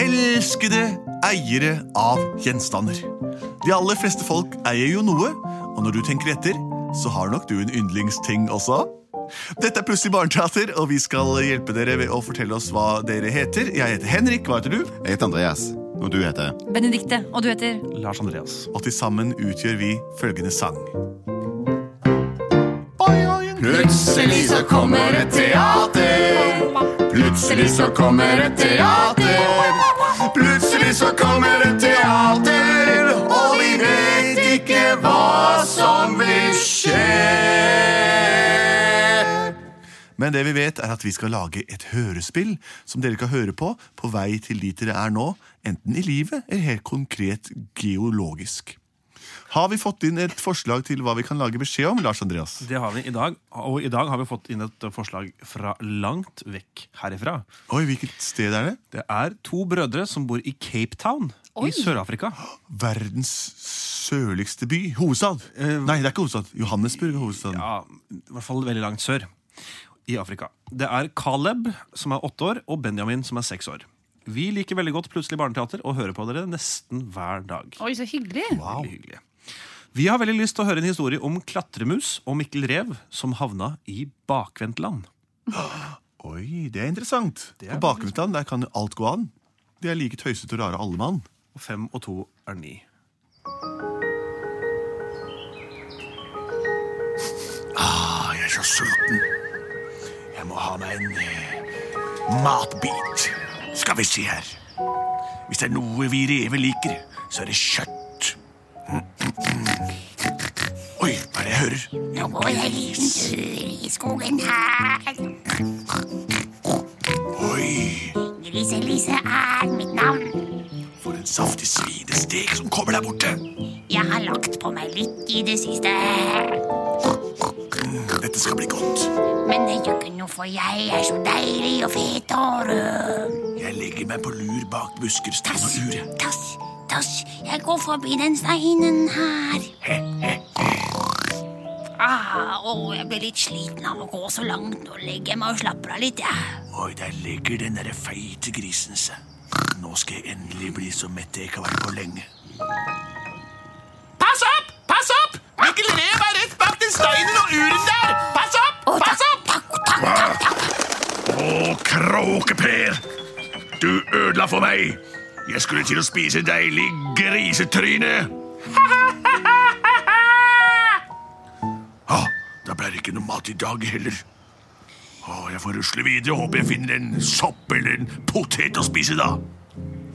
elskede eiere av gjenstander. De aller fleste folk eier jo noe, og når du tenker etter, så har nok du en yndlingsting også. Dette er Plutselig barneteater, og vi skal hjelpe dere ved å fortelle oss hva dere heter. Jeg heter Henrik, hva heter du? Jeg heter Andreas, og du heter Benedikte, og du heter Lars Andreas. Og til sammen utgjør vi følgende sang. Plutselig så kommer et teater. Plutselig så kommer et teater. Plutselig så kommer et teater, og vi vet ikke hva som vil skje. Men det vi vet er at vi skal lage et hørespill som dere kan høre på på vei til dit dere er nå, enten i livet eller helt konkret geologisk. Har vi fått inn et forslag til hva vi kan lage beskjed om, Lars Andreas? Det har vi i dag. Og i dag har vi fått inn et forslag fra langt vekk herifra. Oi, hvilket sted er det? Det er to brødre som bor i Cape Town Oi. i Sør-Afrika. Verdens sørligste by. Hovedstad. Nei, det er ikke hovedstad. Johannesburg er hovedstaden. Ja, i hvert fall veldig langt sør i Afrika. Det er Caleb som er åtte år, og Benjamin som er seks år. Vi liker veldig godt Plutselig barneteater og hører på dere nesten hver dag. Oi, så hyggelig. Veldig hyggelig. Vi har veldig lyst til å høre en historie om klatremus og Mikkel Rev som havna i bakvendtland. Oi, det er interessant. Det er På Bakvendtland der kan jo alt gå an. De er like tøysete og rare alle mann. Og fem og to er ni. Ah, jeg er så sulten. Jeg må ha meg en eh, matbit. Skal vi se her. Hvis det er noe vi rever liker, så er det kjøtt. Oi, hva er det jeg hører? Nå går jeg en liten tur i skogen her. Oi, Grise-Lise er mitt navn. for en saftig svinestek som kommer der borte. Jeg har lagt på meg litt i det siste. Dette skal bli godt. Men det gjør ikke noe, for jeg er så deilig og fet og rød. Jeg legger meg på lur bak buskerstein og uret. Tass, tass, jeg går forbi den steinen her. Ah, å, jeg blir litt sliten av å gå så langt. Nå legger jeg meg og slapper av litt, jeg. Oi, der ligger den derre feite grisen seg. Nå skal jeg endelig bli så mett jeg ikke har vært på lenge. Pass opp! Pass opp! Mikkel Rev er rett bak den steinen og uren der! Pass opp! Å, Pass takk, opp! takk, takk, takk, takk. Å, kråkeper! Du ødela for meg. Jeg skulle til å spise deilig grisetryne. Ah, da ble det ikke noe mat i dag heller. Ah, jeg får rusle videre og håper jeg finner en sopp eller en potet å spise, da.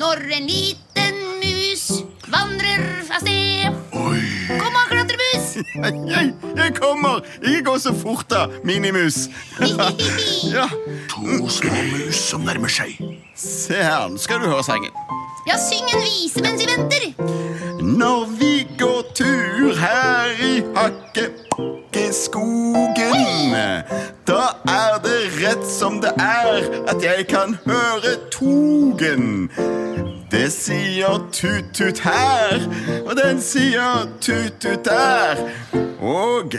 Når en liten mus vandrer av sted Oi, Kom og klatremus! Jeg, jeg, jeg kommer! Ikke gå så fort, da, Minimus. Ja, to små mus som nærmer seg. se her, nå skal du høre sangen. Ja, syng en vise mens vi venter. Når vi går tur her i hakkepakkeskogen, da er det rett som det er at jeg kan høre togen. Det sier tut-tut her, og den sier tut-tut der. Og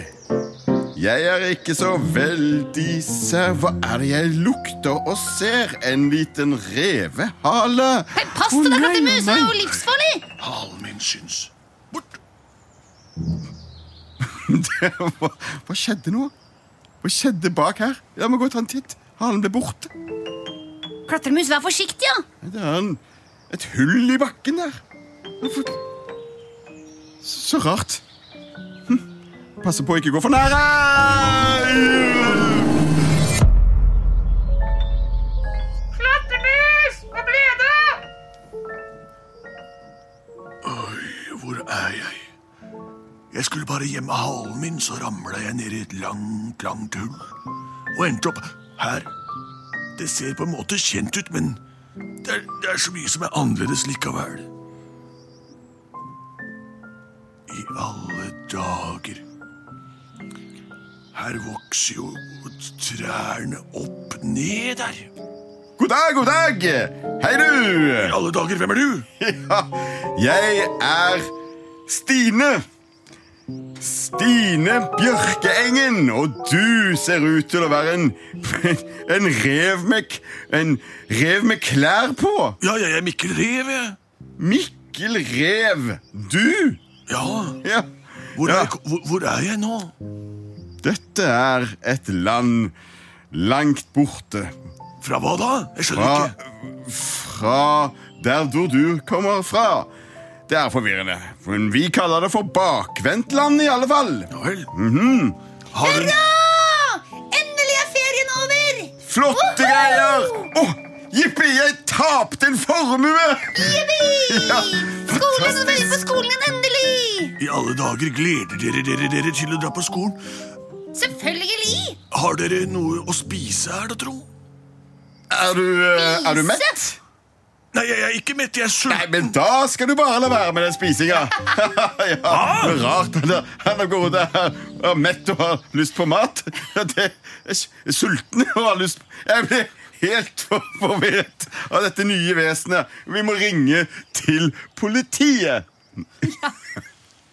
jeg er ikke så veldig sær. Hva er det jeg lukter og ser? En liten revehale. Hei, pass til Å, deg, nei, klatremus! Det er jo nei. livsfarlig! Halen min syns. Bort. Det var, hva skjedde nå? Hva skjedde bak her? La meg gå og ta en titt. Halen ble borte. Klatremus, vær forsiktig, ja. Det er en, et hull i bakken der. Hvorfor- Så, så rart. Hm. Passe på å ikke gå for nære! Klatremus! Hva ble det? Hvor er jeg? Jeg skulle bare gjemme halen min, så ramla jeg ned i et langt, langt hull. Og endte opp her. Det ser på en måte kjent ut, men det er, det er så mye som er annerledes likevel. I alle dager. Her vokser jo trærne opp ned her. God dag, god dag! Hei, I du! alle dager, hvem er du? Ja, jeg er Stine. Stine Bjørkeengen, og du ser ut til å være en, en, rev, med, k- en rev med klær på. Ja, jeg er Mikkel Rev, jeg. Mikkel Rev, du? Ja. Ja. Hvor, Er, Ja. jeg- hvor, hvor er jeg nå? Dette er et land langt borte. Fra hva da? Jeg skjønner Fra, ikke. fra der hvor du kommer fra. Det er forvirrende, men vi kaller det for bakvendtland i alle fall. Ja vel. Har dere Endelig er ferien over! Flotte greier! Åh, Jippi, jeg tapte en formue! Skolen er ferdig på skolen igjen, endelig! I alle dager gleder dere dere, dere til å dra på skolen. Selvfølgelig! Har dere noe å spise her, da, tro? Er du, eh, er du mett? Nei, jeg er ikke mett. Jeg er Nei, sulten. men da skal du bare la være med den spisinga. ja, Ah. det er rart han er- han er går rundt der og er mett og har lyst på mat. Det er s- sulten og har lyst Jeg blir helt for- forvirret av dette nye vesenet. Vi må ringe til politiet.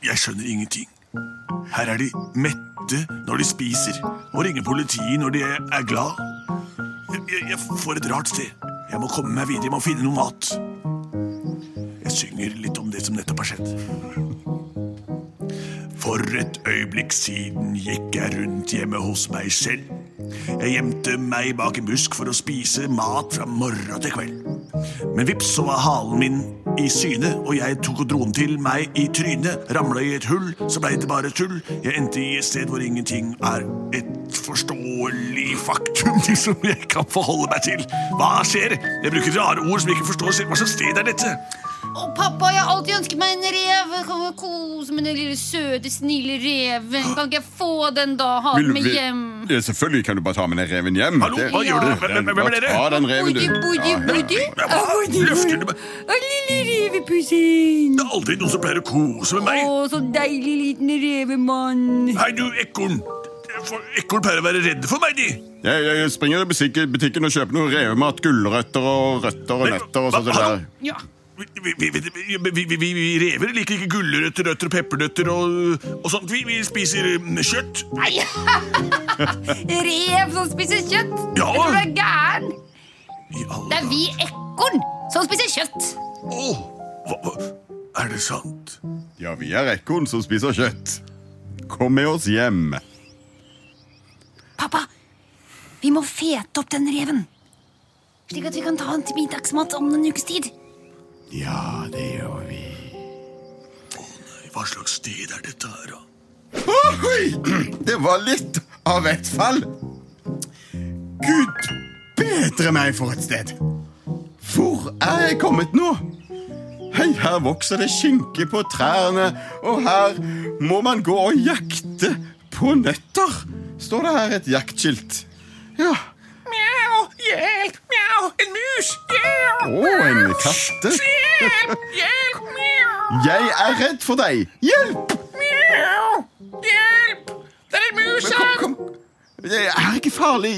Jeg skjønner ingenting. Her er de mette når de spiser, og ringer politiet når de er, er glad. Jeg, jeg, jeg får et rart sted. Jeg må komme meg videre. Jeg må finne noe mat. Jeg synger litt om det som nettopp har skjedd. For et øyeblikk siden gikk jeg rundt hjemme hos meg selv. Jeg gjemte meg bak en busk for å spise mat fra morgen til kveld. Men vips, så var halen min i syne, og jeg tok og dro den til meg i trynet. Ramla i et hull, så blei det bare tull. Jeg endte i et sted hvor ingenting er et forståelig faktum som jeg kan forholde meg til. Hva skjer? Jeg bruker rare ord som jeg ikke forstår selv. Hva slags sted er dette? Å, pappa, jeg har alltid ønsket meg en rev. Jeg kan jo kose med den lille søte, snille reven. Kan ikke jeg få den, da? Ha Vil- den med vil- hjem. Ja, selvfølgelig kan du bare ta med den reven hjem. Hallo, Det- hva gjør dere? Hvem- hvem- hvem er Bare dere? Ta den reven, du. Ah, Budi, budi, Ja, ja. budi. Hva løfter du meg? Å, lille revepussen. Det er aldri noen som pleier å kose med Å, meg. så deilig liten revemann. Hei, du, ekorn. For- Ekorn pleier å være redde for meg, de. Jeg, jeg jeg springer i butikken, butikken og kjøper noe revemat, gulrøtter og røtter og nøtter og sånt Hva- der. Ja. Vi, vi, vi, vi, vi, vi, vi rever liker ikke gulrøtter, røtter og peppernøtter og, og sånt. Vi, vi spiser mm, kjøtt. Rev som spiser kjøtt. Ja. Jeg tror du er gæren. I alle Det er vi ekorn som spiser kjøtt. dager. Åh, hva, hva? Er det sant? Ja, vi er ekorn som spiser kjøtt. Kom med oss hjem. Pappa, vi må fete opp den reven. Slik at vi kan ta den til middagsmat om en ukes tid. Ja, det gjør vi. Nei, Hva slags sted er dette her, da? Oi! Det var litt av et fall. Gud bedre meg for et sted. Hvor er jeg kommet nå? Hei, her vokser det skinke på trærne, og her må man gå og jakte på nøtter, står det her et jaktskilt. Ja. Mjau, hjelp, mjau, en mus, mjau. Å, en katte. Hjelp, hjelp, mjau, Jeg er redd for deg. Hjelp! mjau, hjelp. Det er en mus Kom, her. kom. Det er ikke farlig.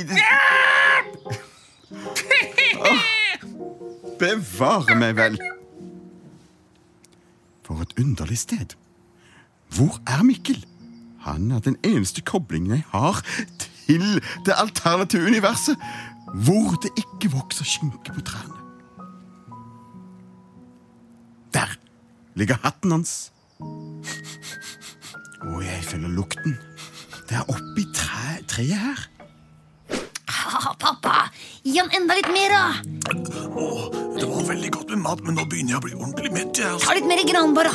Bevare meg vel. For et underlig sted. Hvor er Mikkel? Han er den eneste koblingen jeg har til det alternative universet, hvor det ikke vokser skinke på trærne. Der ligger hatten hans. Og jeg føler lukten. Det er oppi tre, treet her. Ah, pappa, gi han enda litt mer, da. Åh, det var veldig godt med mat, men nå begynner jeg å bli ordentlig mett. Jeg, altså. Ta litt mer granbar, da.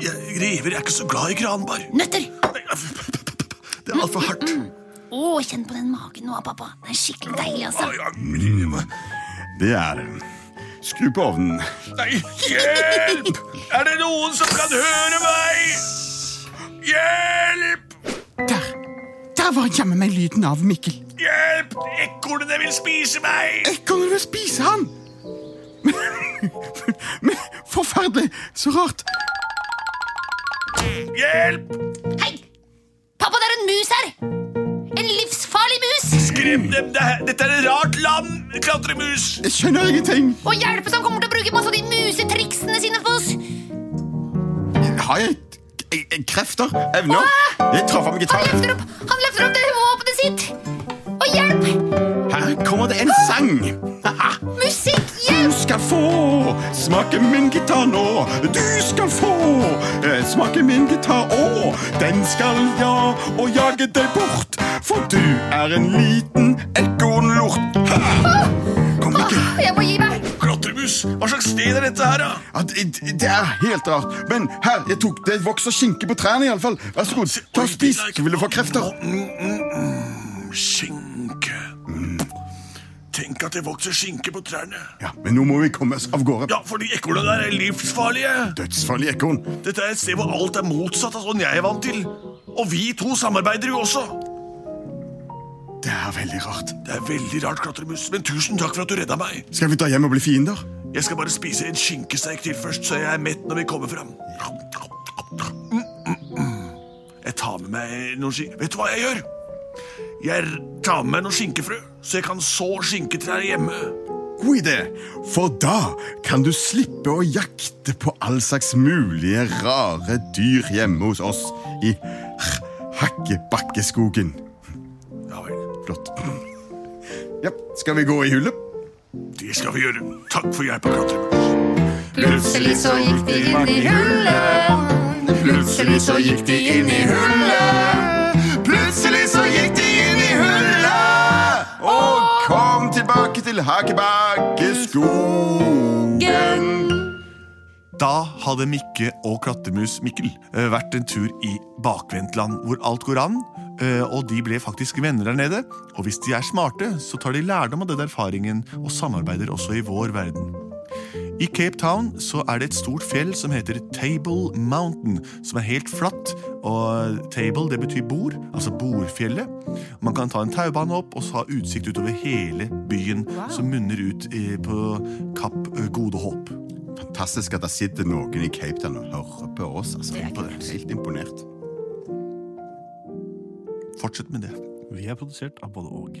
jeg, rever er ikke så glad i granbar. Nøtter. Det er altfor hardt. Mm. Å, kjenn på den magen nå, pappa. Den er skikkelig deilig, altså. Ai, ai, mm, Det er det. Skru på ovnen. Nei, hjelp! Er det noen som kan høre meg? Hjelp! Der! Der var jammen meg lyden av Mikkel. Hjelp! Ekornene vil spise meg! Ekornet vil spise han! Men forferdelig! Så rart. Hjelp! Hei! Pappa, det er en mus her! En livsfarlig mus! Skrem dem! Det er- Dette er et rart land, klatremus! Jeg skjønner ingenting. Og hjelpe som kommer til å bruke masse av de musetriksene sine for oss! Har jeg et eh, eh, krefter, evner. Jeg traff ham med gitar. Han løfter opp, han løfter opp det våpenet sitt! Og hjelp! Her kommer det en sang. Haha. Musikk! Du Hjelp! skal få smake min gitar nå. Du skal få eh, smake min gitar òg. Den skal ja og jage deg bort, for du er en liten ekornlort. Ha! Kom ikke. Jeg må gi meg! Klatremus, hva slags sted er dette her, da? Ja, det, det er helt rart. Men her, jeg tok det vokser skinke på trærne. i alle fall. Vær så god, ta og spis, så vil du få krefter. Skinke. Tenk at det vokser skinke på trærne. Ja, Men nå må vi komme oss av gårde. Ja, for de ekornene der er livsfarlige. Dødsfarlig ekorn. Dette er et sted hvor alt er motsatt av sånn jeg er vant til. Og vi to samarbeider jo også. Det er veldig rart. Det er veldig rart, klatremus, men tusen takk for at du redda meg. Skal vi ta hjem og bli fiender? Jeg skal bare spise en skinkesteik til først, så jeg er mett når vi kommer fram. Mm, mm, mm. Jeg tar med meg noen skin... Vet du hva jeg gjør? Jeg r- tar med meg noen skinkefrø, så jeg kan så skinketrær hjemme. god idé, for da kan du slippe å jakte på all slags mulige rare dyr hjemme hos oss i H- Hakkebakkeskogen. Ja vel, Flott. Ja, skal vi gå i hullet? det skal vi gjøre. Takk for hjelpa, klatremus. Plutselig så gikk de inn i hullet. Plutselig så gikk de inn i hullet. Plutselig så gikk de inn i hullet. Og kom tilbake til Hakkebakkeskogen. Da hadde Mikke og klatremus Mikkel eh, vært en tur i bakvendtland, hvor alt går an. eh, Og de ble faktisk venner der nede. Og hvis de er smarte, så tar de lærdom av den erfaringen og samarbeider også i vår verden. I Cape Town så er det et stort fjell som heter Table Mountain, som er helt flatt. Og table, det betyr bord, altså bordfjellet. Man kan ta en taubane opp og så ha utsikt utover hele byen, som munner ut eh, på Kapp eh, Gode Håp. Fantastisk at det sitter noen i Cape Town og hører på oss. Altså, jeg er helt imponert. Fortsett med det. Vi er produsert av både og.